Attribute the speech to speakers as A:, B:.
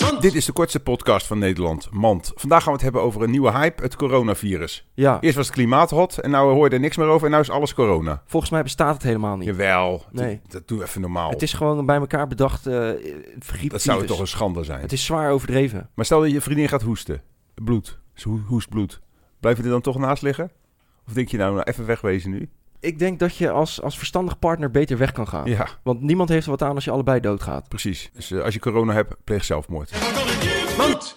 A: Mand. Dit is de kortste podcast van Nederland, Mand. Vandaag gaan we het hebben over een nieuwe hype, het coronavirus.
B: Ja,
A: Eerst was het klimaathot en nou hoor je er niks meer over en nu is alles corona.
B: volgens mij bestaat het helemaal niet.
A: Jawel,
B: Nee.
A: dat, dat doe even normaal.
B: Het is gewoon bij elkaar bedacht eh vergriepvirus.
A: dat zou toch een schande zijn.
B: Het is zwaar overdreven.
A: Maar stel dat je vriendin gaat hoesten, bloed, ze ho- hoest bloed. Blijf je er dan toch naast liggen? Of denk je nou, nou even wegwezen nu?
B: Ik denk dat je als, als verstandig partner beter weg kan gaan.
A: Ja,
B: Want niemand heeft er wat aan als je allebei doodgaat.
A: precies. Dus eh, als je corona hebt, pleeg zelfmoord.